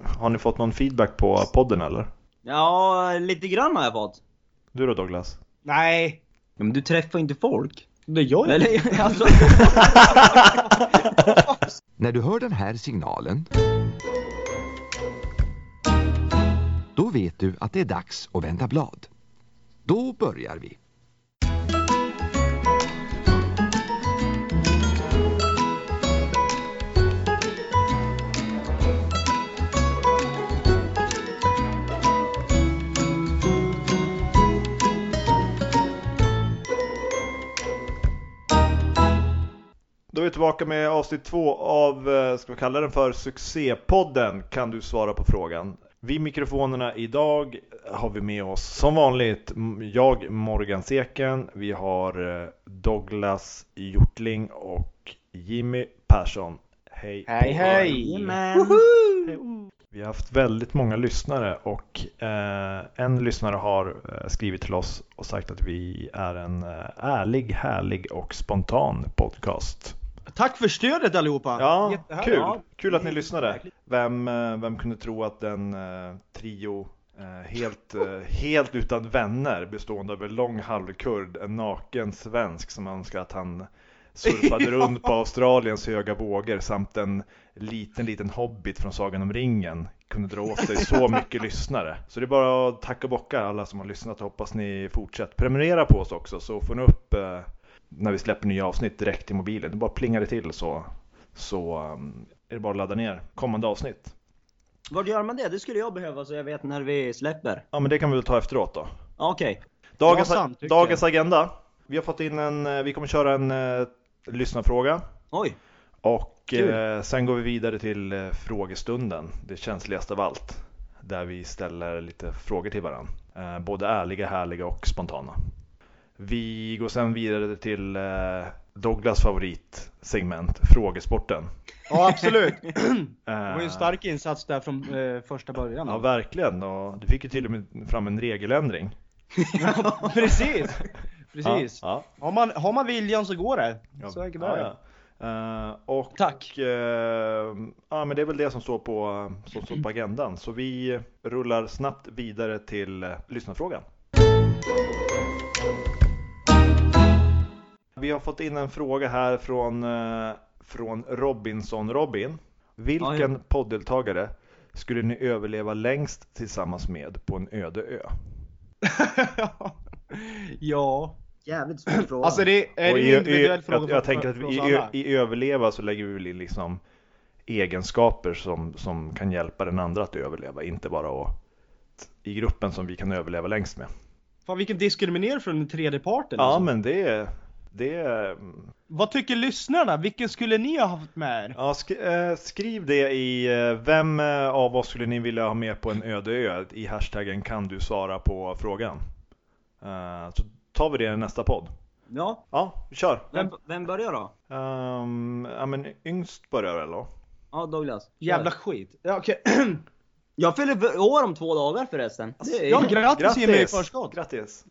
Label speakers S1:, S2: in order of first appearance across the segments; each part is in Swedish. S1: Har ni fått någon feedback på podden eller?
S2: Ja, lite grann har jag fått.
S1: Du då Douglas?
S3: Nej.
S2: Ja, men du träffar inte folk.
S3: Det gör jag inte.
S2: Eller, alltså,
S4: När du hör den här signalen då vet du att det är dags att vända blad. Då börjar vi.
S1: Då är vi tillbaka med avsnitt två av, eh, ska vi kalla den för Succépodden, kan du svara på frågan. Vid mikrofonerna idag har vi med oss som vanligt m- jag Morgan Seken, vi har eh, Douglas Hjortling och Jimmy Persson. Hej!
S3: Hej
S1: på er.
S3: hej.
S2: Jajamän.
S1: Vi har haft väldigt många lyssnare och eh, en lyssnare har eh, skrivit till oss och sagt att vi är en eh, ärlig, härlig och spontan podcast.
S3: Tack för stödet allihopa.
S1: Ja,
S3: Jättehärligt.
S1: kul!
S2: Ja,
S1: Kul att ni
S2: det är
S1: lyssnade.
S2: verkligen.
S1: Vem, eh, vem kunde tro att en eh, trio eh, helt, eh, helt utan vänner bestående av en lång halvkurd, en naken svensk som önskar att han surfade runt på Australiens höga vågor samt en liten, liten hobbit från Sagan om ringen kunde dra åt sig så mycket lyssnare. Så det är bara att tacka och bocka alla som har lyssnat. Hoppas ni fortsätter. Prenumerera på oss också så får ni upp eh, när vi släpper nya avsnitt direkt i mobilen. Det bara plingar det till så så um, är det bara att ladda ner kommande avsnitt.
S2: Vart gör man det? Det skulle jag behöva så jag vet när vi släpper.
S1: Ja men det kan vi väl ta efteråt då.
S2: Okej.
S1: Dagens,
S3: Jag samtycker.
S1: dagens agenda. Vi har fått in en, eh, vi kommer köra en eh, lyssnarfråga
S2: Oj.
S1: och
S3: Kul.
S1: eh, sen går vi vidare till eh, frågestunden, det känsligaste av allt. Där vi ställer lite frågor till varandra. Eh, både ärliga, härliga och spontana. Vi går sen vidare till eh, Douglas favoritsegment, frågesporten.
S3: Ja absolut. Det
S1: Eh,
S3: var ju en stark insats där från eh, första början.
S1: Ja verkligen, och du fick ju till och med fram en regeländring.
S3: Precis. Precis.
S1: Ja,
S3: Har, man, har man viljan så går det.
S1: ja.
S3: Så enkelt
S1: Ja,
S3: är det.
S1: ja. Eh, och
S3: Tack.
S1: eh, ja, men det är väl det som står på, eh, som står på agendan. Så vi rullar snabbt vidare till eh, lyssnarfrågan. Vi har fått in en fråga här från, eh, från Robinson-Robin.
S2: Ja, ja.
S1: Vilken poddeltagare skulle ni överleva längst tillsammans med på en öde ö?
S3: ja.
S2: Jävligt svår fråga.
S3: Alltså det är
S1: Och
S3: det
S1: i,
S3: en
S1: i,
S3: individuell
S1: jag,
S3: fråga
S1: jag
S3: för-
S1: tänker
S3: för-
S1: att
S3: för
S1: vi,
S3: oss
S1: i,
S3: alla.
S1: ö- i överleva så lägger vi väl in liksom egenskaper som, som kan hjälpa den andra att överleva, inte bara att, i gruppen som vi kan överleva längst med.
S3: Fan vilken diskriminering från den tredje parten.
S1: Ja,
S3: alltså.
S1: men det är... Det är
S3: Vad tycker lyssnarna? Vilken skulle ni ha haft med er?
S1: ja, sk, eh, skriv det i eh, vem eh, av oss skulle ni vilja ha med på en öde ö i hashtaggen kan du svara på frågan. Eh, så tar vi det i nästa podd.
S2: Ja.
S1: Ja, vi kör.
S2: Vem, vem börjar då?
S1: Ehm, ja, men yngst börjar väl då?
S2: Ja, Douglas.
S3: Jävla skit. Ja, okej.
S2: Jag fyller v- år om två dagar förresten. Det är-
S3: Ja, grattis, Jimmy i förskott.
S1: Grattis!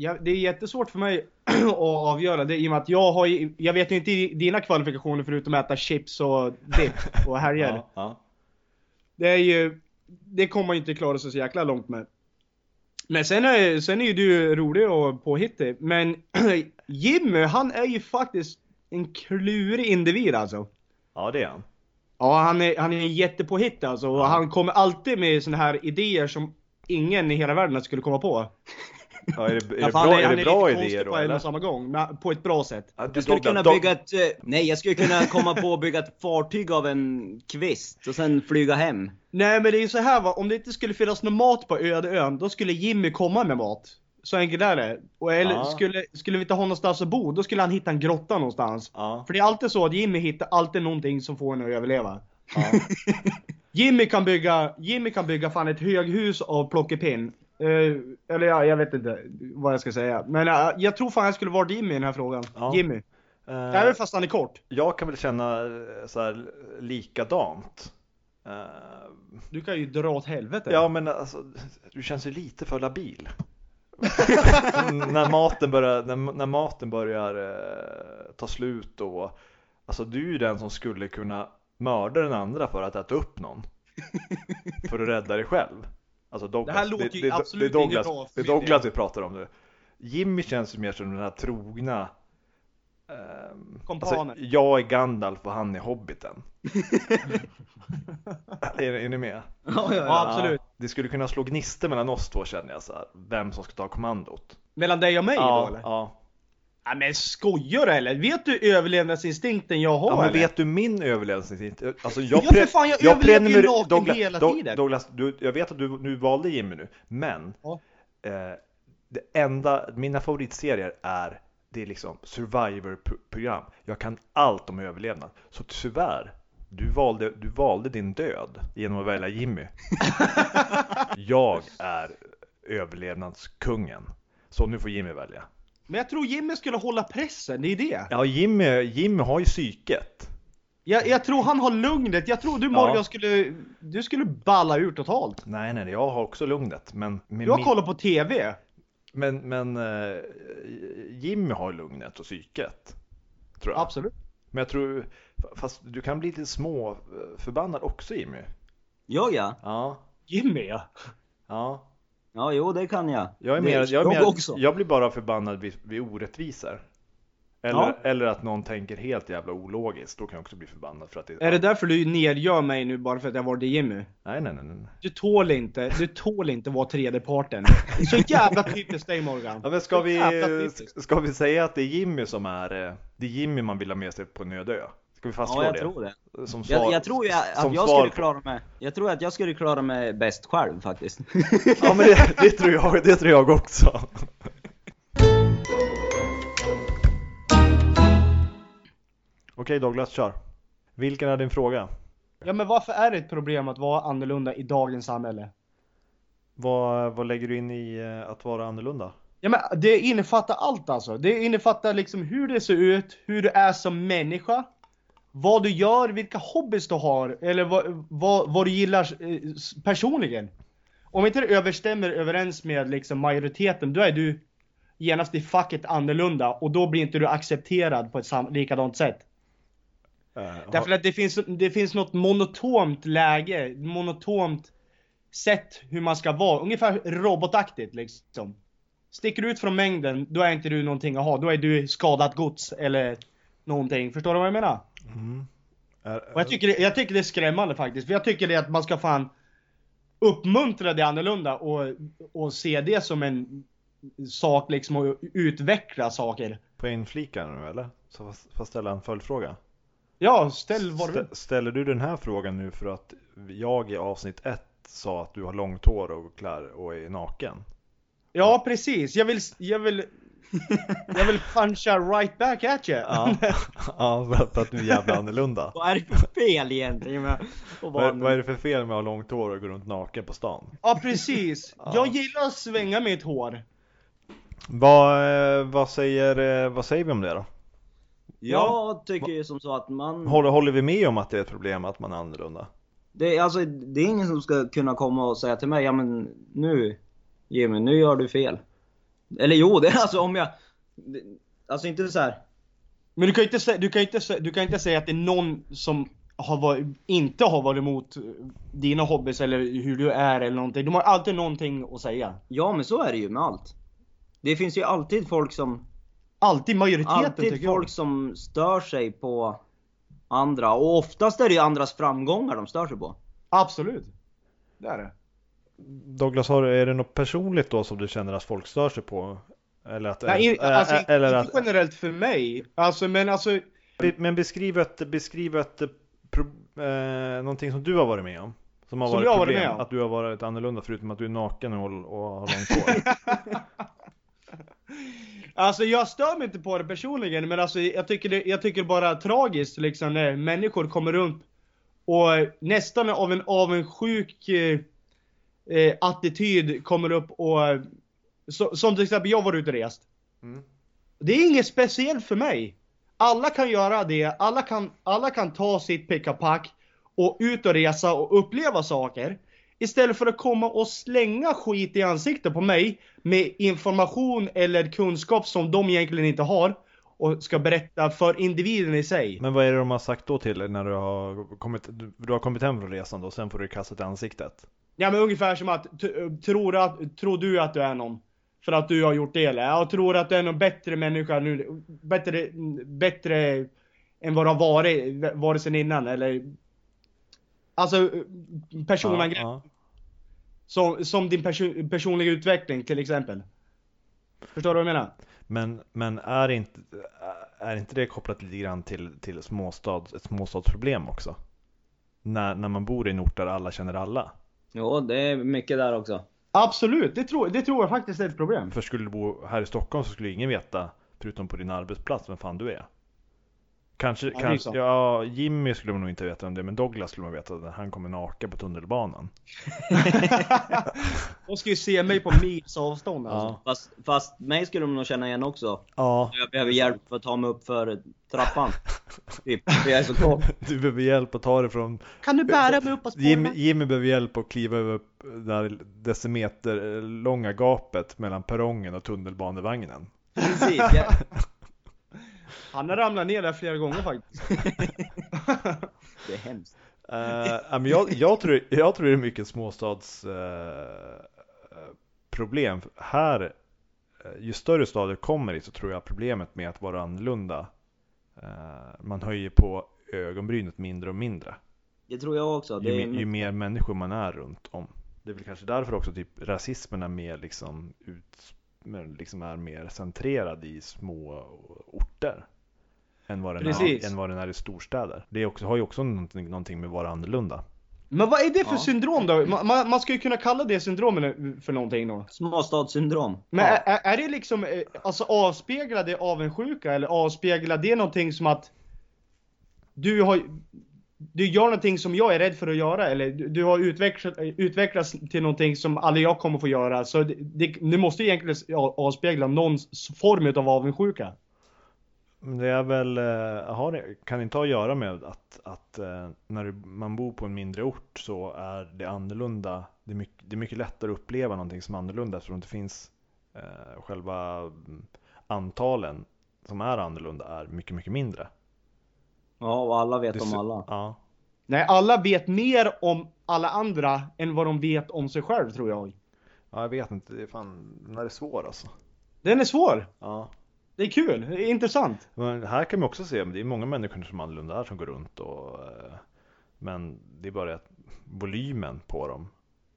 S3: Ja, det är jättesvårt för mig att avgöra det i och med att jag har ju- Jag vet ju inte i- dina kvalifikationer förutom att äta chips och dipp och helger.
S1: Ja, ja.
S3: Det är ju... Det kommer man ju inte klara sig så jäkla långt med. Men sen är, sen är ju du rolig och påhittig. Men Jimmy, han är ju faktiskt en klurig individ alltså.
S1: ja, det är han.
S3: Ja, han är, han är jättepåhittig alltså. Och han kommer alltid med såna här idéer som ingen i hela världen skulle komma på.
S1: Ja, är det, är
S3: Ja,
S1: det
S3: för han
S1: bra, är
S3: han
S1: det
S3: lite
S1: bra
S3: konstig
S1: idéer då
S3: på en
S1: eller?
S3: och samma gång, men på ett bra sätt.
S1: Ja, du,
S2: Jag skulle
S1: Dogda-
S2: kunna
S1: Dog-
S2: bygga ett... eh, Nej, jag skulle kunna komma på att bygga ett fartyg av en kvist och sen flyga hem.
S3: Nej men det är ju så här va, om det inte skulle finnas någon mat på öde ön, då skulle Jimmy komma med mat. Så enkelt är det. Och eller
S1: Ja.
S3: skulle, skulle vi inte ha någonstans att bo, då skulle han hitta en grotta någonstans.
S1: Ja,
S3: För det är alltid så att Jimmy hittar alltid någonting som får henne att överleva.
S1: ja.
S3: Jimmy kan bygga, Jimmy kan bygga fan ett höghus av plockepinn. Eh, eller ja, jag vet inte vad jag ska säga. Men eh, jag tror fan jag skulle vara Jimmy i den här frågan.
S1: Ja.
S3: Jimmy.
S1: Eh,
S3: Även fast han är kort.
S1: jag kan väl känna eh, så här likadant. Eh,
S3: Du kan ju dra åt helvete.
S1: ja, men alltså, du känns ju lite för labil. när maten börjar, när, när maten börjar eh, ta slut och alltså du är ju den som skulle kunna mörda den andra för att äta upp någon. för att rädda dig själv. Alltså Douglas.
S3: Det här låter ju
S1: det,
S3: absolut
S1: det är Douglas,
S3: inget bra för
S1: Det är
S3: min
S1: Douglas vi pratar om nu. Jimmy känns ju mer som den här trogna ehm,
S3: Kompanen.
S1: jag är Gandalf och han är Hobbiten. är, är ni med?
S2: Ja,
S3: Ja, absolut.
S1: Ja, det skulle kunna slå gnister mellan oss två känner jag så här. Vem som ska ta kommandot.
S3: Mellan dig och mig
S1: ja,
S3: då eller? Ja.
S1: ja.
S3: men skojar du eller? Vet du överlevnadsinstinkten jag har
S1: ja, men
S3: eller?
S1: vet du min överlevnadsinstinkt? Alltså
S3: Ja,
S1: jag,
S3: för fan, jag överlever ju
S1: prenumerer-
S3: naken
S1: Douglas,
S3: hela
S1: Doug-
S3: tiden.
S1: Douglas, du, jag vet att du nu valde Jimmy nu, men
S3: Ja.
S1: eh, det enda, mina favoritserier är det är liksom survivor-program. Jag kan allt om överlevnad. Så tyvärr, du valde, du valde din död genom att välja Jimmy. jag är överlevnadskungen. Så nu får Jimmy välja.
S3: Men jag tror Jimmy skulle hålla pressen, det är det.
S1: Ja, Jimmy, Jimmy har ju psyket.
S3: Jag, jag tror han har lugnet. Jag tror du Morgan
S1: Ja.
S3: skulle, du skulle balla ur totalt.
S1: Nej, nej, jag har också lugnet. Men, med
S3: Du har
S1: min-
S3: kollat på TV.
S1: men, men eh, Jimmy har lugnet och psyket. Tror jag.
S3: Absolut.
S1: Men jag tror, fast du kan bli lite små eh, förbannad också Jimmy.
S2: Jag ja.
S1: Ja,
S3: Jimmy ja.
S1: ja.
S2: Ja, jo det kan jag.
S1: Jag, är
S2: Det-
S1: mer, jag, är
S2: jag
S1: mer,
S2: också.
S1: jag blir bara förbannad vid, vid orättvisor. Eller,
S2: Ja.
S1: eller att någon tänker helt jävla ologiskt. Då kan jag också bli förbannad för att det
S3: Är det därför du nedgör mig nu bara för att jag valde Jimmy?
S1: Nej, nej, nej. nej.
S3: Du tål inte, du tål inte vara tredje parten. Så jävla typiskt dig Morgan.
S1: Ja, men ska, vi,
S3: Jävla typiskt.
S1: ska vi säga att det är Jimmy som är, eh, det är Jimmy man vill ha med sig på en öde ö? Ska vi fastslå
S2: Ja, jag
S1: det?
S2: tror det.
S1: Som svar,
S2: Jag, jag tror ju att
S1: som
S2: jag
S1: svar
S2: skulle
S1: på-
S2: klara mig. Jag tror att jag skulle klara mig bäst själv faktiskt.
S1: Ja men det, det, tror jag, det tror jag också. Okej Douglas, kör. Vilken är din fråga?
S3: Ja men varför är det ett problem att vara annorlunda i dagens samhälle?
S1: Vad, vad lägger du in i eh, att vara annorlunda? Eh,
S3: Ja men det innefattar allt alltså. Det innefattar liksom hur det ser ut, hur du är som människa. Vad du gör, vilka hobbys du har eller vad, vad, vad du gillar eh, s- personligen. Om inte det överstämmer överens med liksom majoriteten, då är du genast i facket annorlunda och då blir inte du accepterad på ett sam- likadant sätt. Därför att det finns, det finns något monotomt läge, monotomt sätt hur man ska vara. Ungefär robotaktigt liksom. Sticker du ut från mängden, då är inte du någonting att ha. Då är du skadat gods eller någonting. Förstår du vad jag menar?
S1: mm.
S3: Och jag, tycker det, jag tycker det är skrämmande faktiskt. För jag tycker det att man ska fan uppmuntra det annorlunda och, och se det som en sak liksom och utveckla saker.
S1: På inflika nu eller? Så får- får jag ställa en följdfråga.
S3: Ja, ställ vad du vill.
S1: Stä- Ställer du den här frågan nu för att jag i avsnitt ett sa att du har långt hår och klär och är naken?
S3: Ja, precis. Jag vill... Jag vill, jag vill puncha right back at you.
S1: ja för, att, för att du är jävla annorlunda.
S2: Vad är det för fel egentligen med att vara
S1: Vad, vad är det för fel med att ha långt hår och gå runt naken på stan?
S3: Ja, precis. Jag gillar att svänga mitt hår.
S1: Vad, eh, vad, säger, eh, vad säger vi om det då?
S2: Jag tycker ju som så att man...
S1: Håller, håller vi med om att det är ett problem att man är annorlunda?
S2: Det, är- alltså, det är ingen som ska kunna komma och säga till mig, ja men nu Jimmy, nu gör du fel. Eller jo, det är alltså om jag... det- Alltså inte så här.
S3: Men du kan ju inte, sä- du kan ju inte, sä- du kan ju inte säga att det är någon som har varit, inte har varit emot eh, dina hobbys eller hur du är eller någonting. De har alltid någonting att säga.
S2: Ja men så är det ju med allt. Det finns ju alltid folk som
S3: Alltid majoriteten
S2: alltid
S3: tycker
S2: folk
S3: jag.
S2: som stör sig på andra. Och oftast är det ju andras framgångar de stör sig på.
S3: Absolut. Det är det.
S1: Douglas, har, är det något personligt då som du känner att folk stör sig på? Eller att,
S3: Nej,
S1: ä-
S3: inte- alltså,
S1: ä- Eh, eller
S3: inte
S1: att,
S3: generellt för mig. Alltså, men alltså.
S1: be- men beskriv ett, beskriv ett eh, pro, eh, någonting som du har varit med om. Som har
S3: Som
S1: varit
S3: jag har varit
S1: problem,
S3: med om?
S1: Att du har varit annorlunda förutom att du är naken och, och har långt hår.
S3: Alltså jag stör mig inte på det personligen men alltså jag tycker det, jag tycker bara tragiskt liksom när människor kommer runt och nästan av en avundsjuk eh, eh, attityd kommer upp och så, som till exempel jag var ute och rest.
S1: Mm.
S3: Det är inget speciellt för mig. Alla kan göra det, alla kan, alla kan ta sitt pick och pack och ut och resa och uppleva saker. Istället för att komma och slänga skit i ansiktet på mig med information eller kunskap som de egentligen inte har. och ska berätta för individen i sig.
S1: Men vad är det de har sagt då till dig när du har kommit, du, du har kommit hem från resan då, sen får du kastat i ansiktet?
S3: Ja men ungefär som att, t- tror, du att tror du att du är någon? För att du har gjort det eller? Jag tror att du är någon bättre människa nu, bättre, bättre än vad du har varit, varit sen innan eller? Alltså personangrepp
S1: ja.
S3: som, som din perso- personliga utveckling till exempel. Förstår du vad jag menar?
S1: Men, men är, inte, är inte det kopplat lite grann till, till småstad, ett småstadsproblem också? När, när man bor i en ort där alla känner alla?
S2: Jo, det är mycket där också.
S3: Absolut, det tror, det tror jag faktiskt är ett problem.
S1: För skulle du bo här i Stockholm så skulle ingen veta, förutom på din arbetsplats, vem fan du är. Kanske,
S3: det är
S1: kanske,
S3: sant.
S1: ja Jimmy skulle man nog inte veta om det, men Douglas skulle man veta när han kommer naka på tunnelbanan.
S3: De ska ju se mig på mils avstånd alltså.
S2: Fast, fast mig skulle de nog känna igen också.
S1: ja.
S2: Jag behöver hjälp för att ta mig upp för trappan. Typ, för jag är så kort.
S1: Du behöver hjälp att ta dig från,
S3: Kan du bära mig upp på
S1: Jimmy, Jimmy behöver hjälp att kliva över det här decimeter eh, långa gapet mellan perrongen och tunnelbanevagnen.
S2: Precis. Jag,
S3: Han har ramlat ner där flera gånger faktiskt.
S2: det är hemskt.
S1: Eh, ja, men jag, jag, tror, jag tror det är mycket småstads eh, problem. Här, eh, ju större stad du kommer i så tror jag problemet med att vara annorlunda, eh, man höjer på ögonbrynet mindre och mindre.
S2: Det tror jag också.
S1: Ju,
S2: Det
S1: me- ju
S2: är,
S1: mer människor man är runt om. Det är väl kanske därför också typ rasismen är mer liksom ut, men liksom är mer centrerad i små orter. Än vad, den är,
S3: Precis.
S1: än vad den är i storstäder. Det är också, har ju också någonting, någonting med att vara annorlunda.
S3: Men vad är det för
S2: Ja.
S3: syndrom då? Man, man, man ska ju kunna kalla det syndromen för någonting då.
S2: småstadssyndrom.
S3: Men
S2: ja.
S3: är, är det liksom eh, alltså avspeglar det avundsjuka eller avspeglar det någonting som att du har du gör någonting som jag är rädd för att göra eller du, du har utvecklat, eh, utvecklats till någonting som aldrig jag kommer få göra. Så det, det, det måste ju egentligen s- a- avspegla någon s- form utav avundsjuka.
S1: Men Det är väl, eh, har, det- kan inte ha att göra med att, att eh, när du- man bor på en mindre ort så är det annorlunda. Det är mycket, det är mycket lättare att uppleva någonting som annorlunda eftersom det inte finns eh, själva mm, antalen som är annorlunda är mycket, mycket mindre.
S2: ja, och alla vet
S1: Det
S2: om
S1: sy-
S2: alla.
S1: Ja.
S3: Nej, alla vet mer om alla andra än vad de vet om sig själv tror jag.
S1: ja, jag vet inte. Det är fan, den här är svår alltså.
S3: Den är svår.
S1: Ja.
S3: Det är kul. Det är intressant.
S1: Men här kan man också se, men det är många människor som är annorlunda här som går runt och eh, Men det är bara det att volymen på dem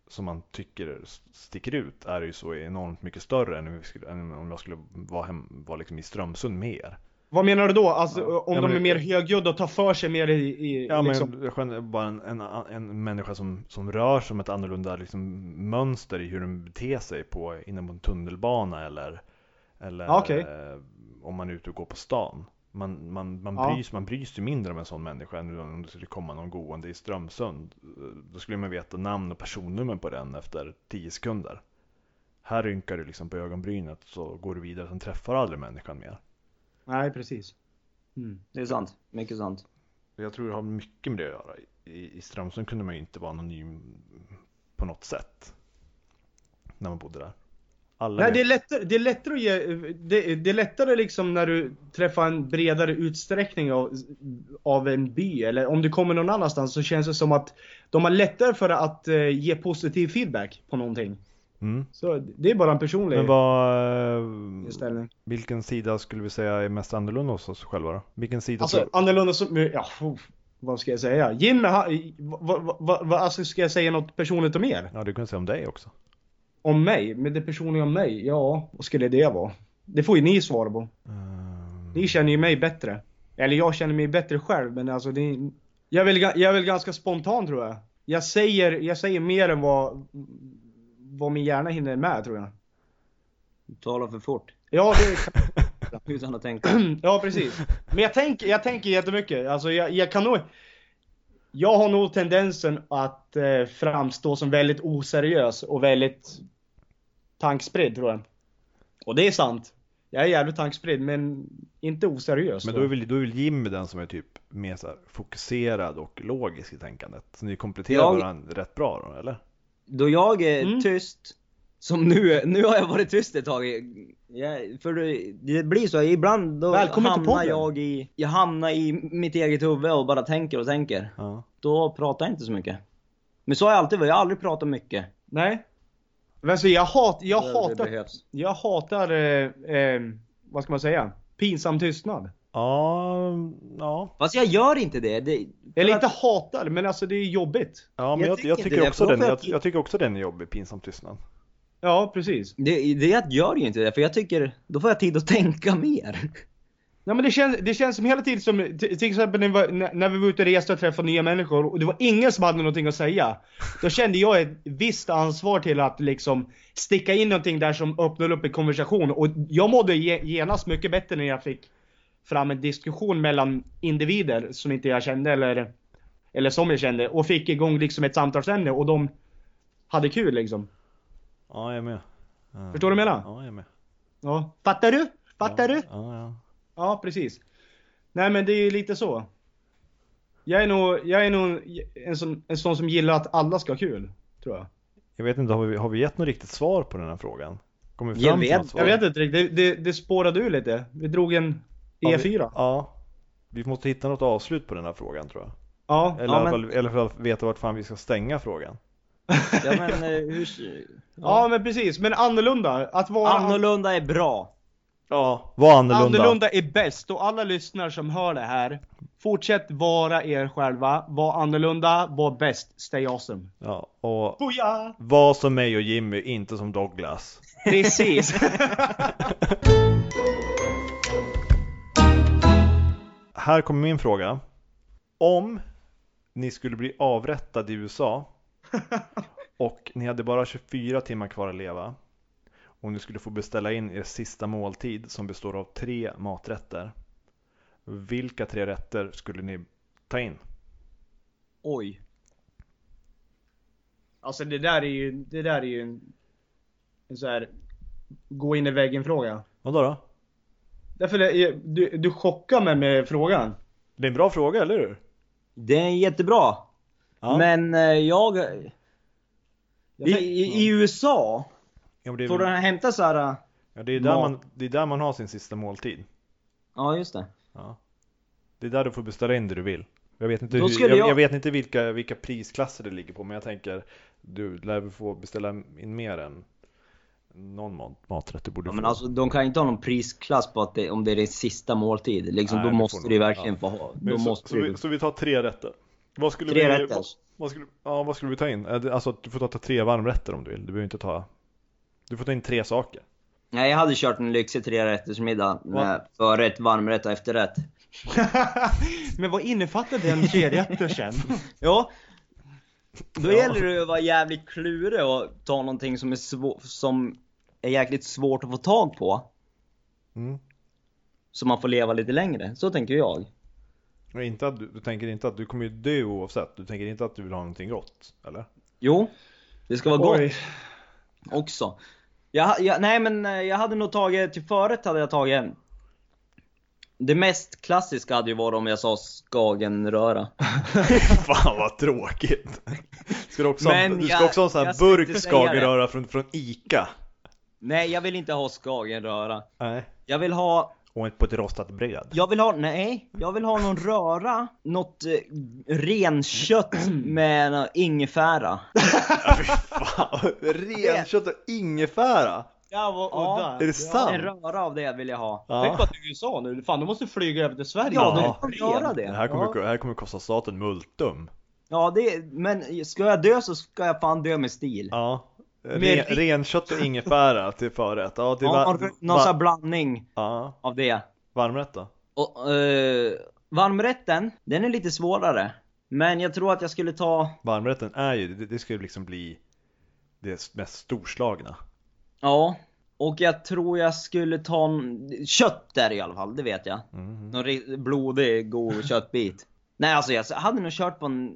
S1: som man tycker s- sticker ut är ju så enormt mycket större än om, vi skulle, än om jag skulle vara, hem, vara liksom i Strömsund med er.
S3: Vad menar du då? Alltså, om
S1: Ja,
S3: de
S1: men-
S3: är mer högljudda och tar för sig mer i... i
S1: Ja, men
S3: liksom.
S1: liksom. bara en, en, en människa som, som rör sig med ett annorlunda liksom, mönster i hur den beter sig på, inom en tunnelbana eller, eller
S3: Ja, okej.
S1: eh, om man är ute och går på stan. Man, man, man,
S3: Ja.
S1: bryr, man bryr sig mindre om en sån människa än om det skulle komma någon gående i Strömsund. Då skulle man veta namn och personnummer på den efter 10 sekunder. Här rynkar du liksom på ögonbrynet så går du vidare, sen träffar du aldrig människan mer.
S3: Nej, precis. Mm.
S2: Det är sant. Mycket sant.
S1: Jag tror det har mycket med det att göra. I, i Strömsund kunde man ju inte vara anonym på något sätt. När man bodde där. Alla
S3: Nej,
S1: vet-
S3: det är lättare, det är lättare att ge, det, det är lättare liksom när du träffar en bredare utsträckning av, av en by eller om du kommer någon annanstans så känns det som att de har lättare för att eh, ge positiv feedback på någonting.
S1: mm.
S3: Så det är bara en personlig
S1: Men vad, eh,
S3: inställning.
S1: vilken sida skulle vi säga är mest annorlunda hos oss själva då? Vilken sida
S3: Alltså
S1: tror
S3: annorlunda som, ja, uff, vad ska jag säga? Jimmy, han- vad, vad, vad, vad, alltså ska jag säga något personligt om er?
S1: Ja, du kunde säga om dig också.
S3: Om mig? Men det personliga om mig? Ja, vad skulle det vara? Det får ju ni svara på.
S1: Ehm,
S3: Ni känner ju mig bättre. Eller jag känner mig bättre själv, men alltså det är... Jag är väl, ga- jag är väl ganska spontan tror jag. Jag säger, jag säger mer än vad, vad min hjärna hinner med tror jag.
S2: Du talar för fort.
S3: Ja, det,
S2: Utan att tänka.
S3: ja precis. Men jag tänker, jag tänker jättemycket. Alltså jag, jag kan nog... Jag har nog tendensen att eh, framstå som väldigt oseriös och väldigt tankspridd tror jag. Och det är sant. Jag är jävligt tankspridd men inte oseriös.
S1: Men
S3: tror
S1: då
S3: jag.
S1: är, väl, då är väl Jimmy den som är typ mer så här fokuserad och logisk i tänkandet. Så ni kompletterar
S2: Jag-
S1: varandra rätt bra då, eller?
S2: Då jag är
S3: Mm.
S2: tyst Som nu, nu har jag varit tyst ett tag. Jag, för det, det blir så, ibland då
S3: Välkommen till
S2: hamnar
S3: podden.
S2: jag i, jag hamnar i mitt eget huvud och bara tänker och tänker.
S1: Ja.
S2: Då pratar jag inte så mycket. Men så har jag alltid varit, jag har aldrig pratat mycket.
S3: Nej. Men alltså jag, hat, jag
S2: Det- Det
S3: hatar,
S2: behövs.
S3: jag hatar, eh, eh, vad ska man säga? Pinsam tystnad.
S1: Ja, ja.
S2: Fast jag gör inte det. det
S3: Eller
S2: för
S3: inte
S2: att-
S3: hatar, men alltså det är jobbigt.
S1: ja men
S2: Jag
S1: jag, jag,
S2: tycker inte
S1: tycker
S2: det,
S1: också
S2: för då
S1: den,
S2: får
S1: jag,
S2: jag-
S1: jag tycker också den är jobbig, pinsam tystnad.
S3: Ja, precis.
S2: Det, det jag gör ju inte det, för jag tycker, då får jag tid att tänka mer.
S3: Ja, men det, känns, det känns som hela tiden som, t- till exempel när vi, var, när- när vi var ute och reste och träffade nya människor och det var ingen som hade någonting att säga. Då kände jag ett visst ansvar till att liksom sticka in någonting där som öppnade upp en konversation och jag mådde ge- genast mycket bättre när jag fick fram en diskussion mellan individer som inte jag kände eller, eller som jag kände och fick igång liksom ett samtalsämne och de hade kul liksom.
S1: Ja, jag är med. Ja.
S3: Förstår du vad jag menar?
S1: Ja, jag är med.
S3: Ja. Fattar du? Fattar
S1: ja.
S3: du?
S1: Ja, ja.
S3: Ja, precis. Nej, men det är ju lite så. Jag är nog, jag är nog en, sån, en sån som gillar att alla ska ha kul, tror jag.
S1: Jag vet inte, har vi, har vi gett något riktigt svar på den här frågan? Kommer vi
S2: Jag
S1: fram till
S2: vet-
S1: något svar?
S3: Jag vet inte riktigt, det, det, det spårade ur lite. Vi drog en E
S1: Ja,
S3: E4.
S1: Vi, ja. Vi måste hitta något avslut på den här frågan tror jag.
S3: Ja,
S1: Eller,
S2: Ja,
S1: i alla
S2: men-
S1: fall, eller i alla fall veta vart fan vi ska stänga frågan.
S2: Ja men eh, hur...
S3: ja, men precis. Men annorlunda. Att vara
S2: Annorlunda är bra.
S1: Ja, var annorlunda.
S3: annorlunda. är bäst. Och alla lyssnare som hör det här, fortsätt vara er själva. Var annorlunda, var bäst. Stay awesome.
S1: Ja, och
S3: Boja!
S1: var som mig och Jimmy, inte som Douglas.
S3: Precis.
S1: Här kommer min fråga. Om ni skulle bli avrättad i USA och ni hade bara 24 timmar kvar att leva och ni skulle få beställa in er sista måltid som består av tre maträtter. Vilka tre rätter skulle ni ta in?
S2: Oj.
S3: Alltså det där är ju, det där är ju en, en så här gå in i väggen fråga.
S1: Vadå då?
S3: Därför det, du, du chockar mig med frågan.
S1: Det är en bra fråga, eller hur?
S2: Det är jättebra.
S1: Ja.
S2: Men eh, jag... jag
S3: I-
S2: I, i, I USA
S1: ja, men det, är,
S2: får de
S1: väl-
S2: hämta så här... eh,
S1: ja, det, är där
S2: mat.
S1: man, det är där man har sin sista måltid.
S2: Ja just det.
S1: Det är där du får beställa in det du vill. Jag vet inte,
S2: Då
S1: hur,
S2: skulle
S1: jag,
S2: jag-
S1: jag vet inte vilka, vilka prisklasser det ligger på, men jag tänker du lär väl få beställa in mer än någon mat, maträtt du borde
S2: Ja, men
S1: få.
S2: alltså de kan ju inte ha någon prisklass på att det, om det är din sista måltid. Liksom,
S1: Nej,
S2: då
S1: det
S2: måste
S1: får
S2: du
S1: nog-
S2: verkligen få ha.
S1: Men
S2: Då
S1: så,
S2: måste
S1: så,
S2: du... liksom-
S1: vi, så vi tar tre rätter. Vad skulle
S2: Tre
S1: vi,
S2: rätter. alltså.
S1: Vad, vad, skulle, ja, vad skulle vi ta in? Eh, det- Alltså du får ta, ta tre varmrätter om du vill. Du behöver inte ta... Du får ta in tre saker.
S2: Nej jag hade kört en lyxig trerättersmiddag med förrätt, varmrätt och efterrätt.
S3: Men vad innefattar den trerätter sen?
S2: Ja. Då
S1: Ja.
S2: gäller det att vara jävligt klurig och ta någonting som är, svår, som är jäkligt svårt att få tag på.
S1: Mm.
S2: Så man får leva lite längre. Så tänker jag.
S1: Och inte att du, du tänker inte att du kommer ju dö oavsett. Du tänker inte att du vill ha någonting gott, eller?
S2: Jo. Det ska vara gott.
S3: Oj.
S2: också. Jag, jag, nej men eh, jag hade nog tagit, till förrätt hade jag tagit Det mest klassiska hade ju varit om jag sa skagenröra.
S1: Fan vad tråkigt! Ska du också,
S2: Men
S1: ha, du ska
S2: jag-
S1: också ha en sån här
S2: jag ska
S1: burk
S2: inte säga
S1: skagenröra från, från ICA?
S2: Nej jag vill inte ha skagenröra.
S1: Nej.
S2: Jag vill ha,
S1: Och inte på ett rostat bröd?
S2: jag vill ha, nej. Jag vill ha någon röra, något eh, renkött med nå- ingefära.
S1: Fan, renkött och ingefära!
S3: Ja, vad
S2: Ja.
S3: udda.
S1: Är det sant?
S2: En röra av det vill jag ha.
S3: Tänk
S1: Ja.
S3: på att du är i USA nu. Fan, du måste flyga över till Sverige.
S2: Ja,
S1: Ja.
S2: då får jag göra
S1: Det
S2: det.
S1: här kommer,
S3: Ja.
S1: det här kommer kosta staten multum.
S2: Ja, det, men ska jag dö så ska jag fan dö med stil.
S1: Ja. Ren,
S2: Med-
S1: renkött och ingefära till förrätt. Ja, till
S2: Ja,
S1: va-
S2: någon, någon
S1: va-
S2: sån här blandning
S1: ja.
S2: av det.
S1: Varmrätt då?
S2: Och, eh, varmrätten, den är lite svårare. Men jag tror att jag skulle ta,
S1: Varmrätten är ju, det, det ska ju liksom bli det mest storslagna.
S2: ja. Och jag tror jag skulle ta en- kött där i alla fall, det vet jag.
S1: Mhm.
S2: Någon ri- blodig, god köttbit. Nej alltså jag hade nog kört på en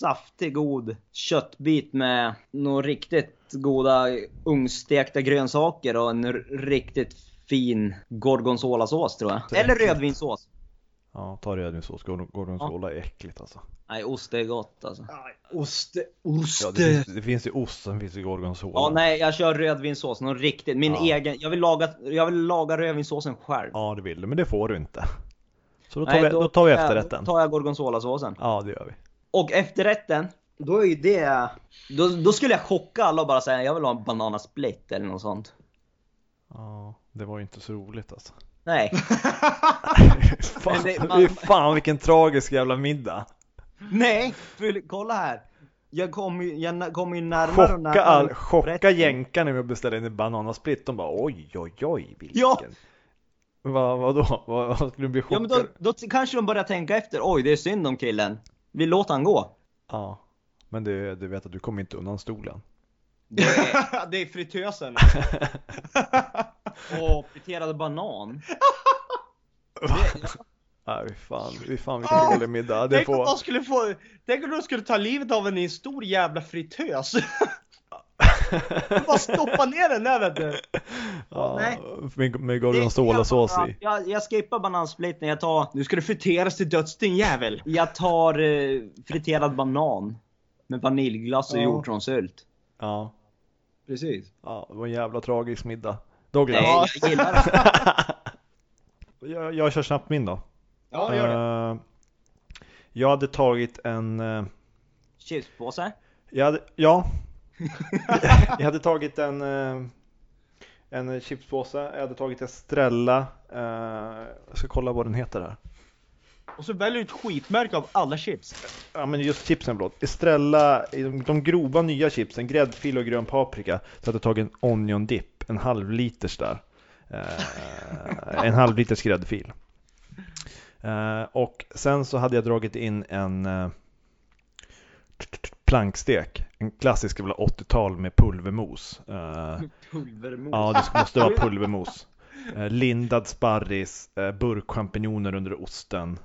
S2: saftig, god köttbit med några riktigt goda ugnstekta grönsaker och en r- riktigt fin gorgonzolasås tror jag. Eller rödvinssås.
S1: Ja, ta rödvinssås. Gor- Gorgonzola är äckligt alltså.
S2: Nej, ost är gott alltså.
S3: Aj, Ost, ost.
S1: Ja, det, finns, det finns ju ost, sen finns det gorgonzola.
S2: Ja, nej, jag kör rödvinssås. Någon riktigt. Min
S1: Ja.
S2: egen. Jag vill, laga, jag vill laga rödvinssåsen själv.
S1: Ja, det vill du, men det får du inte. Så då tar,
S2: Nej,
S1: vi, då tar vi
S2: jag-
S1: efterrätten.
S2: Då tar jag gorgonzolasåsen.
S1: Ja, det gör vi.
S2: Och efterrätten, då är ju det... Då, då skulle jag chocka alla och bara säga jag vill ha en bananasplitt eller något sånt.
S1: Ja, det var ju inte så roligt alltså.
S2: Nej.
S1: fan,
S2: Men
S1: det,
S2: det-
S1: är fan vilken tragisk jävla middag.
S2: Nej! För, kolla här. Jag kommer ju jag na- kommer ju närmare och
S1: Chocka,
S2: närmare
S1: all, chocka
S2: rätten.
S1: jänkarna med att beställa in en bananasplitt. De bara oj, oj, oj, vilken.
S2: Ja.
S1: Va, vadå? Vad vad skulle du bli
S2: Ja
S1: chockad?
S2: men då, då t- kanske de börjar tänka efter. Oj, det är synd om killen. Vi låter han gå.
S1: Ja. Men du, du vet att du kommer inte undan stolen.
S2: Det är,
S3: det är fritösen.
S2: åh, friterad banan.
S1: Nej, fy fan, fy fan vilken
S2: Ah!
S1: dålig middag. Det
S3: Tänk om,
S1: får...
S3: de skulle få, tänk om de skulle ta livet av en i en stor jävla fritös. Bara stoppa ner den där vet du.
S1: ja,
S2: Nej.
S1: med, med
S2: Det-
S1: gorgonzolasås
S2: jag-
S1: i.
S2: Jag, jag skippar banansplitten, jag tar,
S3: Nu ska du friteras till döds din jävel.
S2: jag tar eh, friterad banan. Med vaniljglass och
S3: Ja.
S2: hjortronsylt.
S1: Ja.
S3: Precis.
S1: ja, det var en jävla tragisk middag. Douglas,
S2: Nej, jag gillar det.
S1: jag, jag kör snabbt min då.
S3: Ja, det gör det.
S1: Eh, jag hade tagit en... eh,
S2: Chipspåse.
S1: Jag hade, ja. jag hade tagit en, eh, en chipspåse, jag hade tagit Estrella. eh, Jag ska kolla vad den heter här.
S3: Och så väljer du ett skitmärke av alla chips.
S1: Ja men just chipsen blott. Estrella, i de, de grova nya chipsen, gräddfil och grön paprika. Så hade jag tagit en onion dip, en halv liters där. Eh, en halv liters gräddfil. Eh, och sen så hade jag dragit in en eh, plankstek. En klassisk jävla 80-tal med pulvermos. Eh,
S2: Pulvermos.
S1: ja det måste vara pulvermos. Eh, lindad sparris, eh, burkchampinjoner under osten.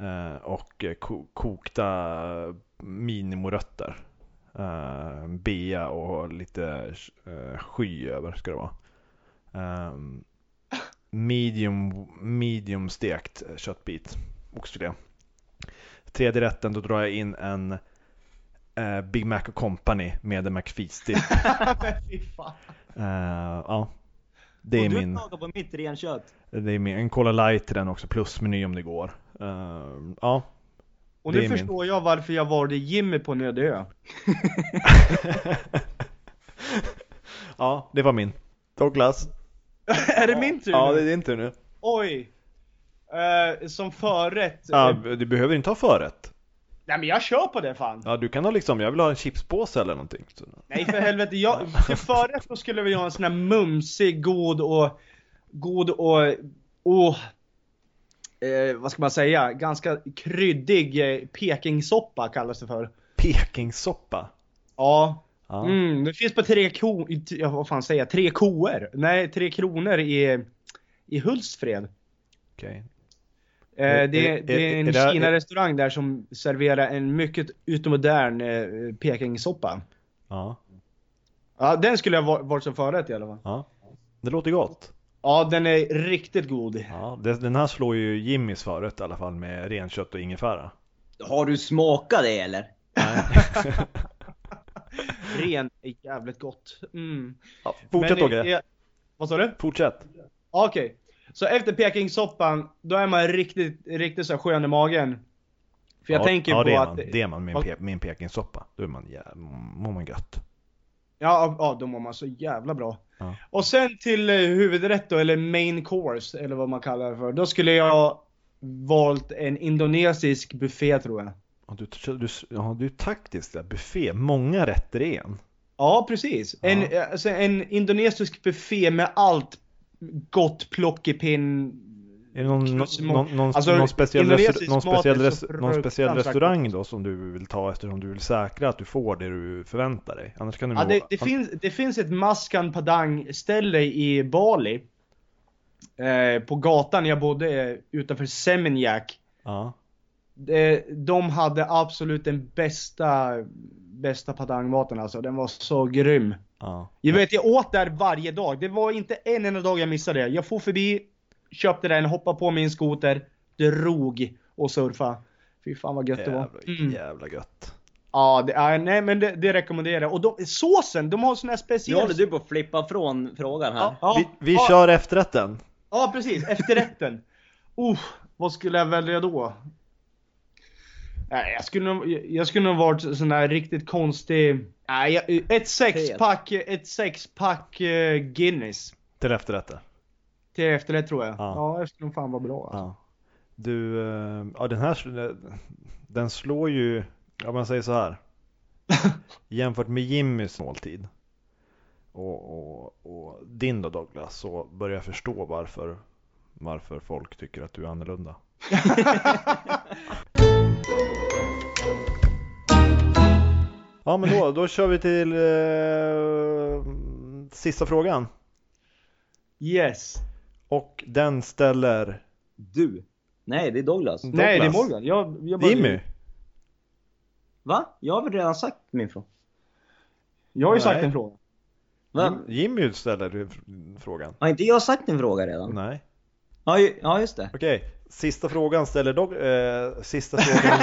S1: Eh, och eh, ko- kokta eh, minimorötter. Eh, bea och lite eh, sky över ska det vara. Ehm, medium, medium stekt eh, köttbit. Oxfilé. Tredje rätten, då drar jag in en eh, Big Mac Company med en McFeasty.
S3: Men fy fan.
S1: Eh, ja, det är
S2: och du
S1: min.
S2: klagar på mitt renkött.
S1: Det är min. En Cola Light i den också, plusmeny om det går. Ehm, ja,
S3: Och
S1: Det
S3: nu
S1: är min.
S3: förstår jag varför jag valde Jimmy på en öde ö.
S1: ja, det var min. Douglas.
S3: Är det min tur
S1: Ja,
S3: nu?
S1: det är din tur nu.
S3: Oj! Eh, som förrätt.
S1: Ja,
S3: Eh,
S1: du behöver inte ha förrätt.
S3: Nej men jag kör på det fan.
S1: Ja, du kan ha liksom, jag vill ha en chipspåse eller någonting. Så-
S3: Nej för helvete. Jag, till förrätt så skulle vi ha en sån här mumsig, god och... God och... och eh, vad ska man säga? Ganska kryddig eh, pekingsoppa kallas det för.
S1: Pekingsoppa.
S3: Ja.
S1: Ja.
S3: Mm, det finns på tre ko... i t- Ja, vad fan säger jag? Tre koer? Nej, tre kronor i, i Hultsfred.
S1: Okej.
S3: Eh,
S1: Är-
S3: det,
S1: är-
S3: det är en
S1: är det-
S3: Kina-restaurang där som serverar en mycket utomodern eh, Pekingsoppa.
S1: Ja,
S3: Ja, den skulle jag va- varit som förrätt i alla fall.
S1: ja. Det låter gott.
S3: Ja, den är riktigt god.
S1: Ja, det- den här slår ju Jimmys förrätt i alla fall med renkött och ingefära.
S2: Har du smakat det eller?
S3: Ren är jävligt gott. Mm.
S1: Ja, fortsätt
S3: Men,
S1: Åge.
S3: eh, Vad sa du?
S1: Fortsätt.
S3: Ja, Okej. Så efter Pekingsoppan, då är man riktigt, riktigt så här skön i magen. För jag
S1: ja,
S3: tänker
S1: ja,
S3: på
S1: det är man,
S3: att...
S1: det är man med en,
S3: vad-
S1: pe- med en pekingsoppa. Då är man, jä- mår man gött.
S3: Ja, ja, då mår man så jävla bra.
S1: Ja.
S3: Och sen till eh, huvudrätt då, eller main course, eller vad man kallar det för. Då skulle jag valt en indonesisk buffé tror jag.
S1: Ja, du, du, ja, du är taktisk där. Buffé, många rätter i en.
S3: Ja, precis. En,
S1: Ja.
S3: alltså, en indonesisk buffé med allt gott plockepinn.
S1: Är det någon, någon,
S3: Plus-
S1: någon, någon,
S3: alltså,
S1: någon speciell, restaur-
S3: indonesisk
S1: någon
S3: mat är
S1: speciell,
S3: så
S1: res, någon speciell
S3: fruktansvärt
S1: restaurang då som du vill ta eftersom du vill säkra att du får det du förväntar dig? Annars kan du
S3: Ja,
S1: må-
S3: det, det,
S1: an-
S3: finns, det finns ett Maskan Padang ställe i Bali. Eh, på gatan jag bodde eh, utanför Seminyak.
S1: ja,
S3: Det, Eh, de hade absolut den bästa, bästa padangmaten alltså. Den var så grym.
S1: ja.
S3: Jag vet, jag åt där varje dag. Det var inte en enda dag jag missade det. Jag for förbi, köpte den, hoppade på min skoter, drog och surfa. Fy fan vad gött det var.
S1: Jävla,
S3: Mm.
S1: jävla gött.
S3: Ja, det, ja, nej men det, det rekommenderar jag. Och de, såsen, de har sån här
S2: Nu
S3: speciell...
S2: håller du på att flippa från frågan här.
S3: Ja, ja,
S1: vi vi
S3: ja,
S1: kör efterrätten.
S3: Ja, precis. Efterrätten. Oh, vad skulle jag välja då? Nej, jag skulle nog, jag skulle nog varit sån här riktigt konstig... Nej, jag, ett sexpack, ett sexpack eh, Guinness.
S1: Till efterrätten.
S3: Till efterrätt tror jag.
S1: Ja.
S3: Ja, det skulle nog fan vara bra. alltså.
S1: Ja. Du, eh, ja den här, sl- eh, den slår ju, ja man säger så här. Jämfört med Jimmys måltid och, och, och din då Douglas så börjar jag förstå varför, varför folk tycker att du är annorlunda. Ja men då, då kör vi till eh, sista frågan.
S3: Yes.
S1: Och den ställer
S2: Du? Nej, det är Douglas.
S1: Douglas.
S3: Nej, det är Morgan. Jag, jag bara,
S1: Jimmy.
S2: Va? Jag har väl redan sagt min fråga?
S3: Jag har ju sagt
S1: Nej.
S3: en fråga.
S2: Va?
S3: Mm.
S1: Jim- Jimmy ställer ju fr- frågan.
S2: Har inte jag sagt din fråga redan?
S1: Nej.
S2: Ja, ju- ja just det.
S1: Okej, sista frågan ställer dock... Eh, sista frågan...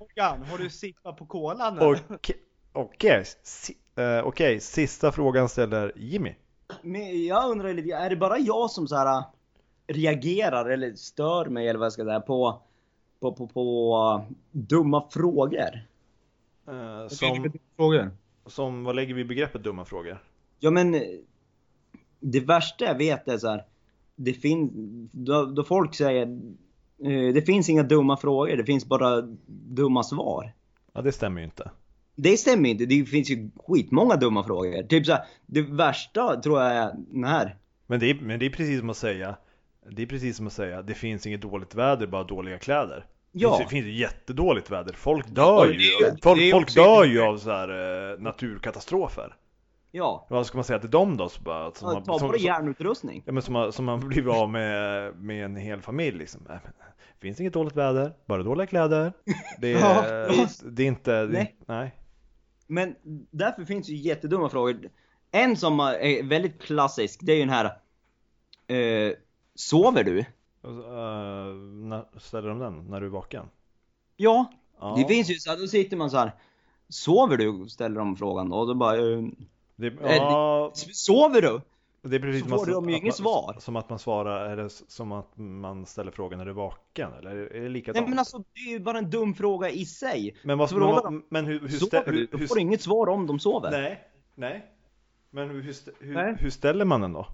S3: Morgan, har du sippat på kolan?
S1: och- Okej, si, eh, okej, sista frågan ställer Jimmy.
S2: Men jag undrar lite, är det bara jag som så här äh, reagerar eller stör mig eller vad jag ska säga på, på, på, på äh, dumma frågor?
S1: Eh, som,
S3: frågor.
S1: som, vad lägger vi i begreppet dumma frågor?
S2: Ja men eh, det värsta jag vet är så här. Det finns, då, då folk säger eh, det finns inga dumma frågor, det finns bara dumma svar.
S1: Ja, det stämmer ju inte.
S2: Det stämmer inte, det finns ju skitmånga dumma frågor. Typ så här, det värsta tror jag är den här.
S1: Men det, är, men det är precis som att säga, det är precis som att säga, det finns inget dåligt väder, bara dåliga kläder.
S2: Ja.
S1: Det finns, det finns ju jättedåligt väder, folk dör
S3: det är
S1: ju,
S3: ju- det
S1: folk,
S3: är
S1: folk
S3: också-
S1: dör ju av så här, eh, naturkatastrofer.
S2: Ja,
S1: Vad ska man säga till dem då? Som, bara, som,
S2: ta
S1: har-
S2: på
S1: som,
S2: dig
S1: som,
S2: hjärnutrustning.
S1: Ja men som har, som har blivit av med, med en hel familj liksom. Nej, men, finns inget dåligt väder, bara dåliga kläder. Det är,
S3: Ja,
S1: det är inte, det, nej.
S2: Nej.
S1: nej.
S2: Men därför finns ju jättedumma frågor. En som är väldigt klassisk, det är ju den här. Eh, sover du?
S1: Och så, eh, när, ställer de den när du är vaken?
S2: Ja,
S1: Ja,
S2: Det finns ju så här, då sitter man så här. Sover du? Ställer de frågan då. Och då bara, eh,
S1: det, ja,
S2: sover du?
S1: det är precis
S2: så
S1: som att-
S2: får de ju
S1: att
S2: inget
S1: man-
S2: svar.
S1: Som att man svarar, är det s- som att man ställer frågan när du är vaken? Eller är är det likadant?
S2: Nej men alltså det är ju bara en dum fråga i sig.
S1: men, vad, men,
S2: frågar
S1: vad,
S2: de-
S1: men hur, hur, stä,
S2: Sover du?
S1: hur,
S2: Då får
S1: hur,
S2: du inget svar om de sover.
S1: nej, nej. Men hur, hur, stä- hur,
S2: Nej.
S1: hur ställer man den då?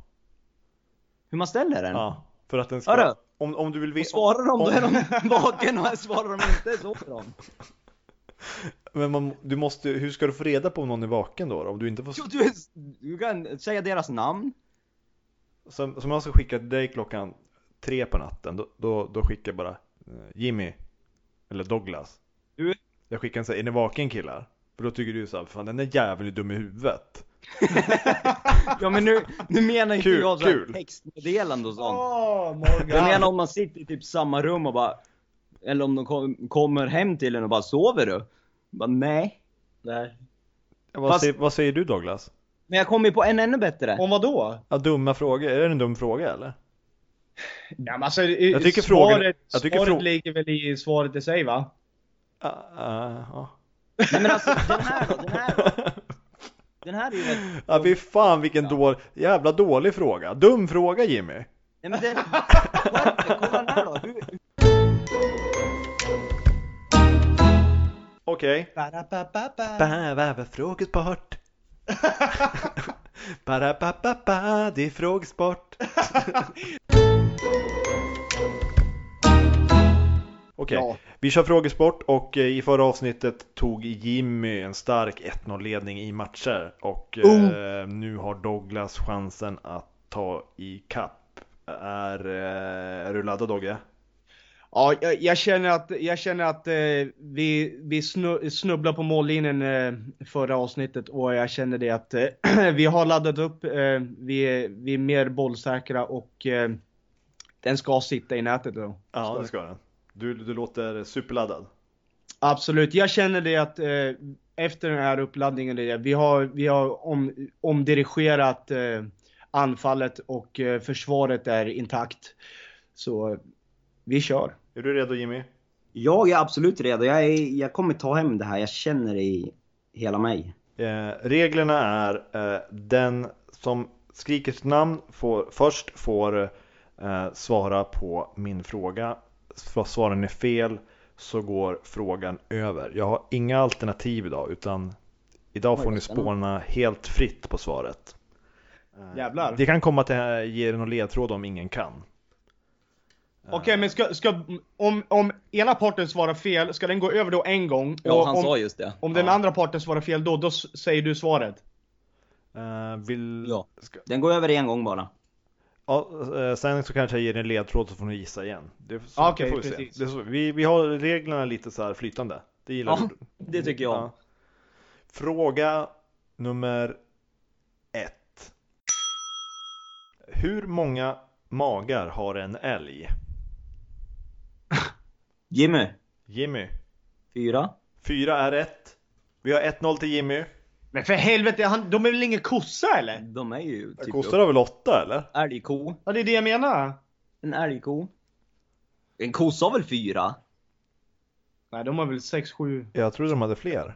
S2: Hur man ställer den.
S1: Ja, för att den
S2: Mm. Hörru.
S1: ska, om, om du vill
S2: Och
S1: veta.
S2: svarar de då
S1: om-
S2: är de vaken och svarar de inte sover de.
S1: Men man, du måste, hur ska du få reda på om någon är vaken då? Om du inte får,
S2: Jo, Du, du kan säga deras namn.
S1: som, som jag ska skicka till dig klockan tre på natten, då, då, då skickar jag bara eh, Jimmy eller Douglas.
S2: Du?
S1: Jag skickar en sån här, är ni vaken killar? För då tycker du så här, fan den där jäveln är dum i huvudet.
S2: Ja men nu, nu menar inte
S1: Kul,
S2: jag så här
S1: kul.
S2: textmeddelande och sånt.
S3: Åh,
S2: Jag menar
S3: Morgan.
S2: om man sitter i typ samma rum och bara Eller om de kom, kommer hem till en och bara sover du? Bara nej. Nej.
S1: Vad,
S2: Fast-
S1: säger, vad säger du Douglas?
S2: Men jag kom ju på en ännu bättre.
S3: Om vadå?
S1: Ja, dumma frågor, är det en dum fråga eller?
S3: Ja, men alltså,
S1: Jag tycker
S3: svaret,
S1: frågan- jag tycker
S3: svaret
S1: frå-
S3: ligger väl i svaret i sig va?
S1: Ah, ah, ja.
S2: Nej men alltså den här då, den här då. Den här är ju rätt...
S1: Ja fy fan vilken
S2: Ja.
S1: dålig, jävla dålig fråga. Dum fråga Jimmy.
S2: Nej men den... Varför? Kolla den här då. Hur...
S1: Okej.
S3: Ba-da-ba-ba-ba.
S1: Ba, ba, ba, frågesport. Bara ba, ba, ba, det är frågesport. Okej,
S3: Ja.
S1: vi kör frågesport och eh, i förra avsnittet tog Jimmy en stark 1-0 ledning i matcher och eh, nu har Douglas chansen att ta i kapp. Är, eh, är du laddad Dogge?
S3: Ja, jag, jag känner att, jag känner att eh, vi, vi snu, snubblade på mållinjen eh, förra avsnittet och jag känner det att eh, vi har laddat upp, eh, vi, är, vi är mer bollsäkra och eh, den ska sitta i nätet då.
S1: Ja, det ska den. Du, du låter superladdad.
S3: Absolut, jag känner det att eh, efter den här uppladdningen, det, vi har, vi har om, omdirigerat eh, anfallet och eh, försvaret är intakt. Så vi kör.
S1: Är du redo Jimmy?
S2: Jag är absolut redo. Jag, är, jag kommer ta hem det här. Jag känner det i hela mig.
S1: Eh, reglerna är eh, den som skriker sitt namn får, först får eh, svara på min fråga. S- Svaren är fel så går frågan över. Jag har inga alternativ idag utan idag får
S2: Oj,
S1: ni spåna helt fritt på svaret. Eh,
S3: Jävlar.
S1: Det kan komma att eh, ge er någon ledtråd om ingen kan.
S3: Okej, men ska, ska, om, om ena parten svarar fel, ska den gå över då en gång? Och om,
S2: just det.
S3: om den
S1: ja.
S3: andra parten svarar fel då, då s- säger du svaret.
S1: Eh, vill...
S2: Ja.
S1: Ska...
S2: Den går över en gång bara.
S1: Ja, eh, sen så kanske jag ger er en ledtråd så får ni gissa igen. Det, så,
S3: Ja, Ah, okej,
S1: det får vi,
S3: precis.
S1: se. Det är så, vi, vi har reglerna lite så här flytande. Det gillar
S2: Ja,
S1: vi.
S2: det tycker jag.
S1: Ja. Fråga nummer ett. Hur många magar har en älg?
S2: Jimmy,
S1: Jimmy.
S2: fyra.
S1: Fyra är rätt. Vi har 1-0 till Jimmy.
S3: Men för helvete, han, de är väl ingen kossa eller?
S2: De är ju typ
S1: Kostar det väl åtta eller?
S2: upp- älgko.
S3: Ja, det är det jag menar.
S2: En älgko. En kossa har väl fyra?
S3: Nej, de har väl 6-7...
S1: Jag trodde de hade fler.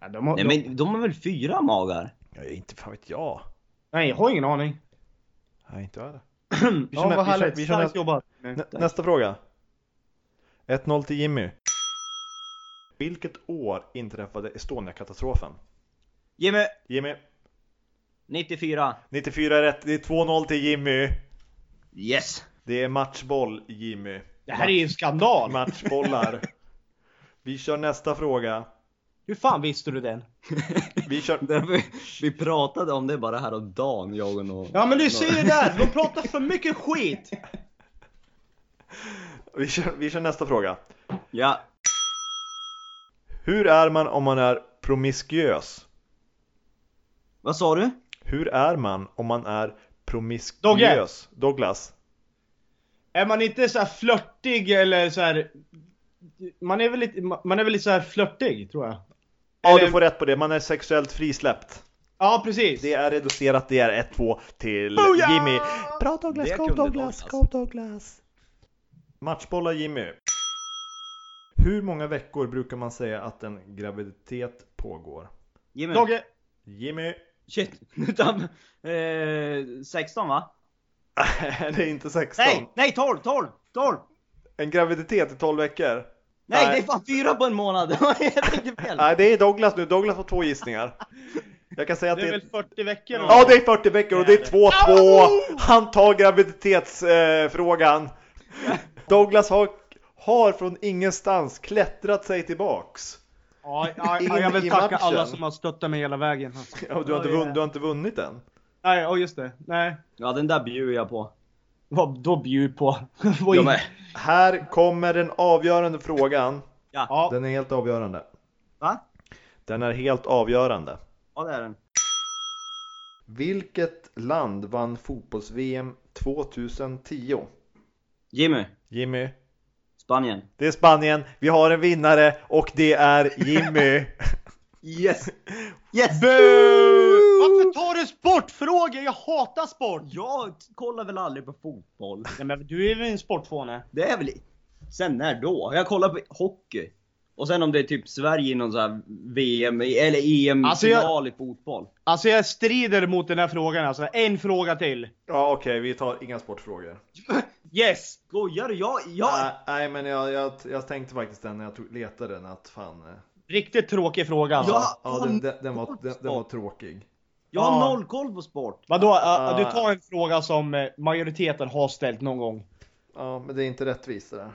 S3: Nej, de har,
S2: Nej
S3: de,
S2: men de har väl fyra magar?
S1: Ja, inte fan vet jag.
S3: nej, jag har ingen aning.
S1: Nej, inte jag heller.
S3: Vi ja,
S1: nä-
S3: vad
S1: vi kör-
S3: härligt.
S1: vi kör
S3: Starkt
S1: nä-
S3: jobbat.
S1: Nä, nästa fråga. 1-0 till Jimmy. Vilket år inträffade Estonia-katastrofen?
S2: Jimmy!
S1: Jimmy,
S2: 94.
S1: 94 är rätt. Det är 2-0 till Jimmy.
S2: Yes!
S1: Det är matchboll Jimmy.
S3: Det här är ju en skandal.
S1: Matchbollar. Vi kör nästa fråga.
S3: Hur fan visste du den?
S1: Vi kör...
S2: Därför, vi pratade om det bara häromdagen, jag och någon.
S3: Ja men du ser ju där, de pratar för mycket skit!
S1: Vi, kör, vi kör nästa fråga.
S2: Ja.
S1: Hur är man om man är promiskuös?
S2: Vad sa du?
S1: Hur är man om man är promiskuös? Douglas.
S3: Är man inte så här flörtig eller så här. Man är väl lite, man är väl lite så här flörtig tror jag.
S1: Ja,
S3: Eller-
S1: du får rätt på det. Man är sexuellt frisläppt.
S3: Ja precis.
S1: Det är reducerat, det är 1-2 till
S3: Booyah!
S1: Jimmy. Bra Douglas,
S2: Det
S1: go
S2: kunde
S1: Douglas,
S2: Douglas.
S1: go Douglas. Matchbollar Jimmy. Hur många veckor brukar man säga att en graviditet pågår?
S2: Jimmy?
S3: Dogge,
S1: Jimmy?
S2: Shit. Nu tar vi- eh, 16 va?
S1: det är inte 16.
S2: Nej! Nej 12! 12! 12!
S1: En graviditet i 12 veckor.
S2: Nej,
S1: Nej.
S2: det är fan fyra på en månad! jag tänkte fel!
S1: Nej, det är Douglas nu. Douglas får två gissningar. Jag kan säga att
S3: det är väl 40 veckor? eller
S1: Ja,
S3: något?
S1: det är 40 veckor och det är 2-2. Han tar graviditetsfrågan. Eh, frågan. Douglas har, har från ingenstans klättrat sig tillbaks.
S3: ja, ja,
S1: Ingen
S3: ja, jag
S1: i
S3: vill tacka
S1: matchen.
S3: alla som har stöttat mig hela vägen.
S1: Ja, du, har inte vunn, du har inte vunnit än.
S3: Nej, ja just det. Nej.
S2: Ja den där bjuder jag på.
S3: Vad då bjud på? Vad
S2: Jag
S3: in-
S2: med.
S1: Här kommer den avgörande frågan.
S3: Ja.
S1: Den är helt avgörande.
S2: Va?
S1: Den är helt avgörande.
S2: Ja det är den.
S1: Vilket land vann fotbolls-VM 2010?
S2: Jimmy,
S1: Jimmy?
S2: Spanien.
S1: Det är Spanien. Vi har en vinnare och det är Jimmy.
S2: Yes! Yes!
S3: Varför tar du sportfrågor? Jag hatar sport!
S2: Jag kollar väl aldrig på fotboll?
S3: Nej, men du är väl en sportfåne?
S2: Det är väl... Sen när då? Jag kollar på hockey. Och sen om det är typ Sverige i någon sån här VM eller EM-final
S3: Alltså, jag-
S2: i fotboll.
S3: Alltså jag strider mot den här frågan alltså. En fråga till.
S1: Ja okej, vi tar inga sportfrågor.
S3: Yes!
S2: Skojar du? Jag, jag...
S1: Nej, Nej men jag, jag, jag tänkte faktiskt den när jag tog, letade den att fan. eh,
S3: Riktigt tråkig fråga alltså.
S2: Ja.
S1: Ja, den, den, den, var, den, den var tråkig.
S2: jag har
S3: Ja.
S2: noll koll på sport.
S3: Vadå? Ja,
S1: Ah.
S3: Du tar en fråga som eh, majoriteten har ställt någon gång.
S1: Ja men det är inte rättvist det där.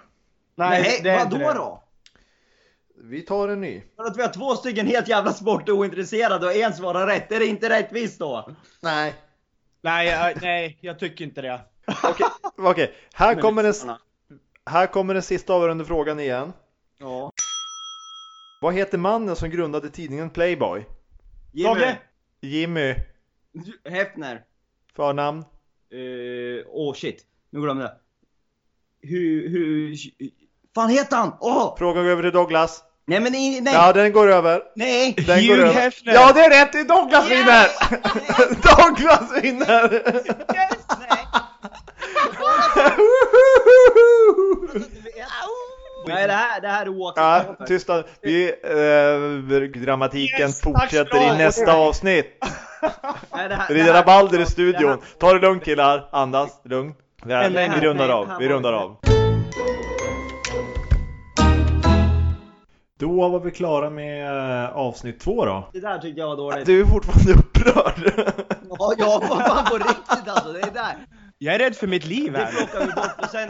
S2: Nej,
S3: det är
S2: vadå
S3: inte det.
S2: då?
S1: Vi tar en ny.
S2: För att vi har två stycken helt jävla sportointresserade och en svarar rätt. Är det inte rättvist då?
S1: Nej.
S3: Nej, jag, nej, jag tycker inte det.
S1: Okej, okej. Här,
S2: Men
S1: kommer den,
S2: lyssnarna.
S1: här kommer den sista avgörande frågan igen.
S2: Ja.
S1: Vad heter mannen som grundade tidningen Playboy?
S2: Jimmy.
S3: Dogge?
S1: Jimmy.
S2: Hefner.
S1: Förnamn?
S2: Eh, åh shit, nu glömde jag. Hur, hur... Fan heter han? Åh!
S1: Frågan går över till Douglas.
S2: Nej men i- nej!
S1: Ja, den går över.
S2: Nej!
S1: Den
S3: Hugh
S1: går över.
S3: Hefner.
S1: Ja, det är rätt! Det är Douglas
S2: Yes!
S1: vinner! Douglas vinner!
S2: Yes, nej.
S1: Woho!
S2: Nej det här, det här är oacceptabelt.
S1: ja, typ. tystnad. Vi, eh, dramatiken
S3: Yes, tack ska du
S1: fortsätter
S3: ha.
S1: i nästa avsnitt.
S2: Nej, det här- det
S1: Ridder
S2: här-
S1: Rabalder i
S2: det
S1: studion.
S2: här-
S1: Ta det lugnt killar, andas lugnt. Vi,
S3: En längre.
S1: vi rundar av, vi rundar av. Då var vi klara med eh, avsnitt två då.
S2: Det där tyckte jag var dåligt.
S1: Du är fortfarande upprörd.
S2: Ja, ja, vad fan på riktigt alltså. Det är där.
S3: Jag är rädd för mitt liv
S2: Det
S3: här.
S2: plockar vi bort och sen...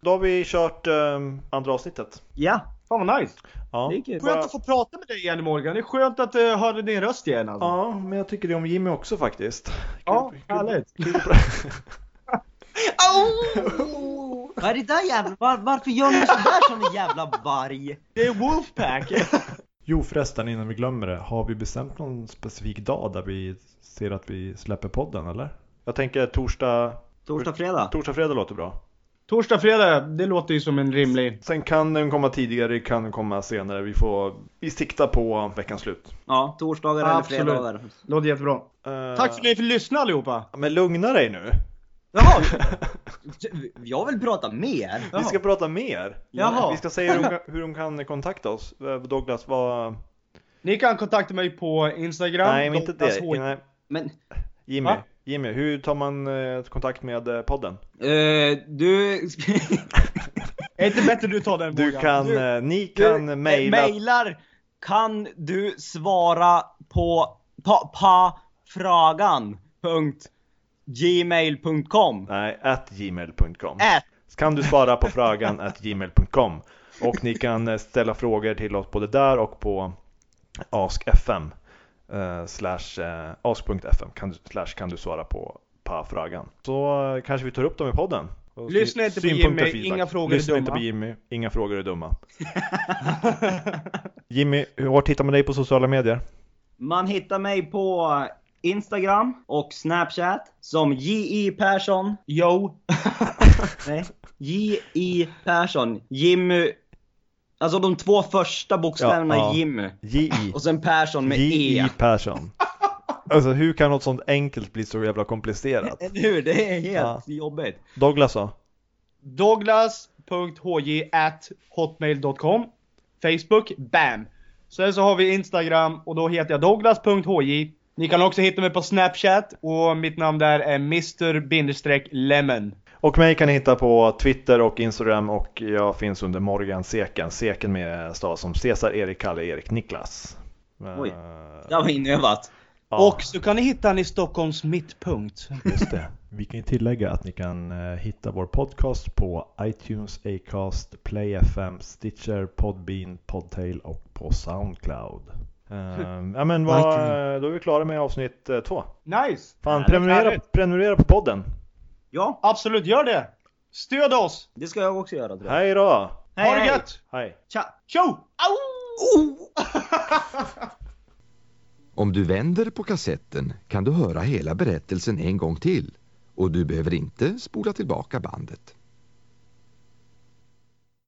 S1: Då har vi kört ehm, andra avsnittet.
S2: Ja,
S3: Fan vad nice.
S1: Ja.
S2: det gick ju.
S3: Skönt att få prata med dig igen Morgan. Det är skönt att uh, höra din röst igen alltså.
S1: ja, men jag tycker det om Jimmy också faktiskt.
S3: Ja,
S1: Kul- kul-
S3: härligt.
S1: kul att pra-
S2: Oh! Vad är det där jävla... Var, varför gör ni sådär som en jävla varg?
S3: Det är Wolfpack.
S1: Jo förresten, innan vi glömmer det. Har vi bestämt någon specifik dag där vi ser att vi släpper podden eller? Jag tänker torsdag,
S2: Torsdag, fredag.
S1: torsdag, fredag låter bra.
S3: Torsdag, fredag. Det låter ju som en rimlig...
S1: Sen kan den komma tidigare, kan den komma senare. Vi får, vi siktar på veckans slut.
S2: Ja, torsdagar
S3: Absolut.
S2: eller fredagar.
S3: Låter jättebra.
S1: Eh,
S3: Tack för att ni för lyssna allihopa.
S1: Men lugna dig nu.
S2: Jaha! Jag vill prata mer.
S1: Vi ska
S3: Jaha.
S1: prata mer.
S3: Jaha.
S1: Vi ska säga hur de, hur de kan kontakta oss. Eh, Douglas, vad...
S3: Ni kan kontakta mig på Instagram.
S1: Nej, men inte
S3: Douglas
S1: det.
S3: H.
S1: Nej.
S2: Men
S1: Jimmy,
S3: Va?
S1: Jimmy, hur tar man eh, kontakt med eh, podden?
S2: eh, du...
S3: Är inte bättre du tar den
S1: Du
S3: Morgan?
S1: kan,
S3: Du-
S1: eh, ni kan
S2: du eh,
S1: mejla.
S2: mejlar. Kan du svara på pa, pa fragan. punkt gmail.com
S1: Nej, at gmail.com.
S2: Ät.
S1: Kan du svara på frågan at gmail.com. Och ni kan eh, ställa frågor till oss både där och på askfm. eh, slash eh, ask.fm kan, du- slash kan du svara på på frågan. Så eh, kanske vi tar upp dem i podden. Och
S3: Lyssna
S1: sy-
S3: inte på
S1: synpunkter,
S3: Jimmy, inga frågor är
S1: Lyssna inte
S3: dumma.
S1: på Jimmy, inga frågor är dumma. Jimmy, var hittar man dig på sociala medier?
S2: Man hittar mig på Instagram och Snapchat som J.I. Persson.
S3: Yo.
S2: Nej. J.I. Persson. Jimmy. Alltså de två första bokstäverna
S1: Ja, ja.
S2: är Jimmy.
S1: J.I.
S2: Och sen Persson med E.
S1: J.I. Persson. Alltså hur kan något sånt enkelt bli så jävla komplicerat?
S2: Eller hur? Det är helt
S1: Ja.
S2: jobbigt.
S1: Douglas då?
S3: Douglas.hj.hotmail.com Facebook, BAM! Sen så har vi Instagram och då heter jag Douglas.hj. Ni kan också hitta mig på Snapchat och mitt namn där är Mr-Lemon.
S1: Och mig kan ni hitta på Twitter och Instagram och jag finns under Morgan Seken. Seken med stav som Cesar, Erik, Kalle, Erik, Niklas. Eh,
S2: Oj. Det var inövat.
S1: ja,
S3: Och så kan ni hitta han i Stockholms mittpunkt.
S1: just det. Vi kan ju tillägga att ni kan eh, hitta vår podcast på iTunes, Acast, Play FM, Stitcher, Podbean, Podtail och på Soundcloud. Eh, ja men vad, eh, då är vi klara med avsnitt eh, två.
S3: Nice!
S1: Fan,
S2: Härligt,
S1: prenumerera,
S3: härligt.
S1: prenumerera på podden.
S2: Ja,
S3: Absolut, gör det! Stöd oss!
S2: det ska jag också göra tror jag.
S1: Hej då!
S3: ha det gött!
S1: Hej!
S2: Tja!
S3: Tjo! Au!
S1: Oh!
S4: Om du vänder på kassetten kan du höra hela berättelsen en gång till och du behöver inte spola tillbaka bandet.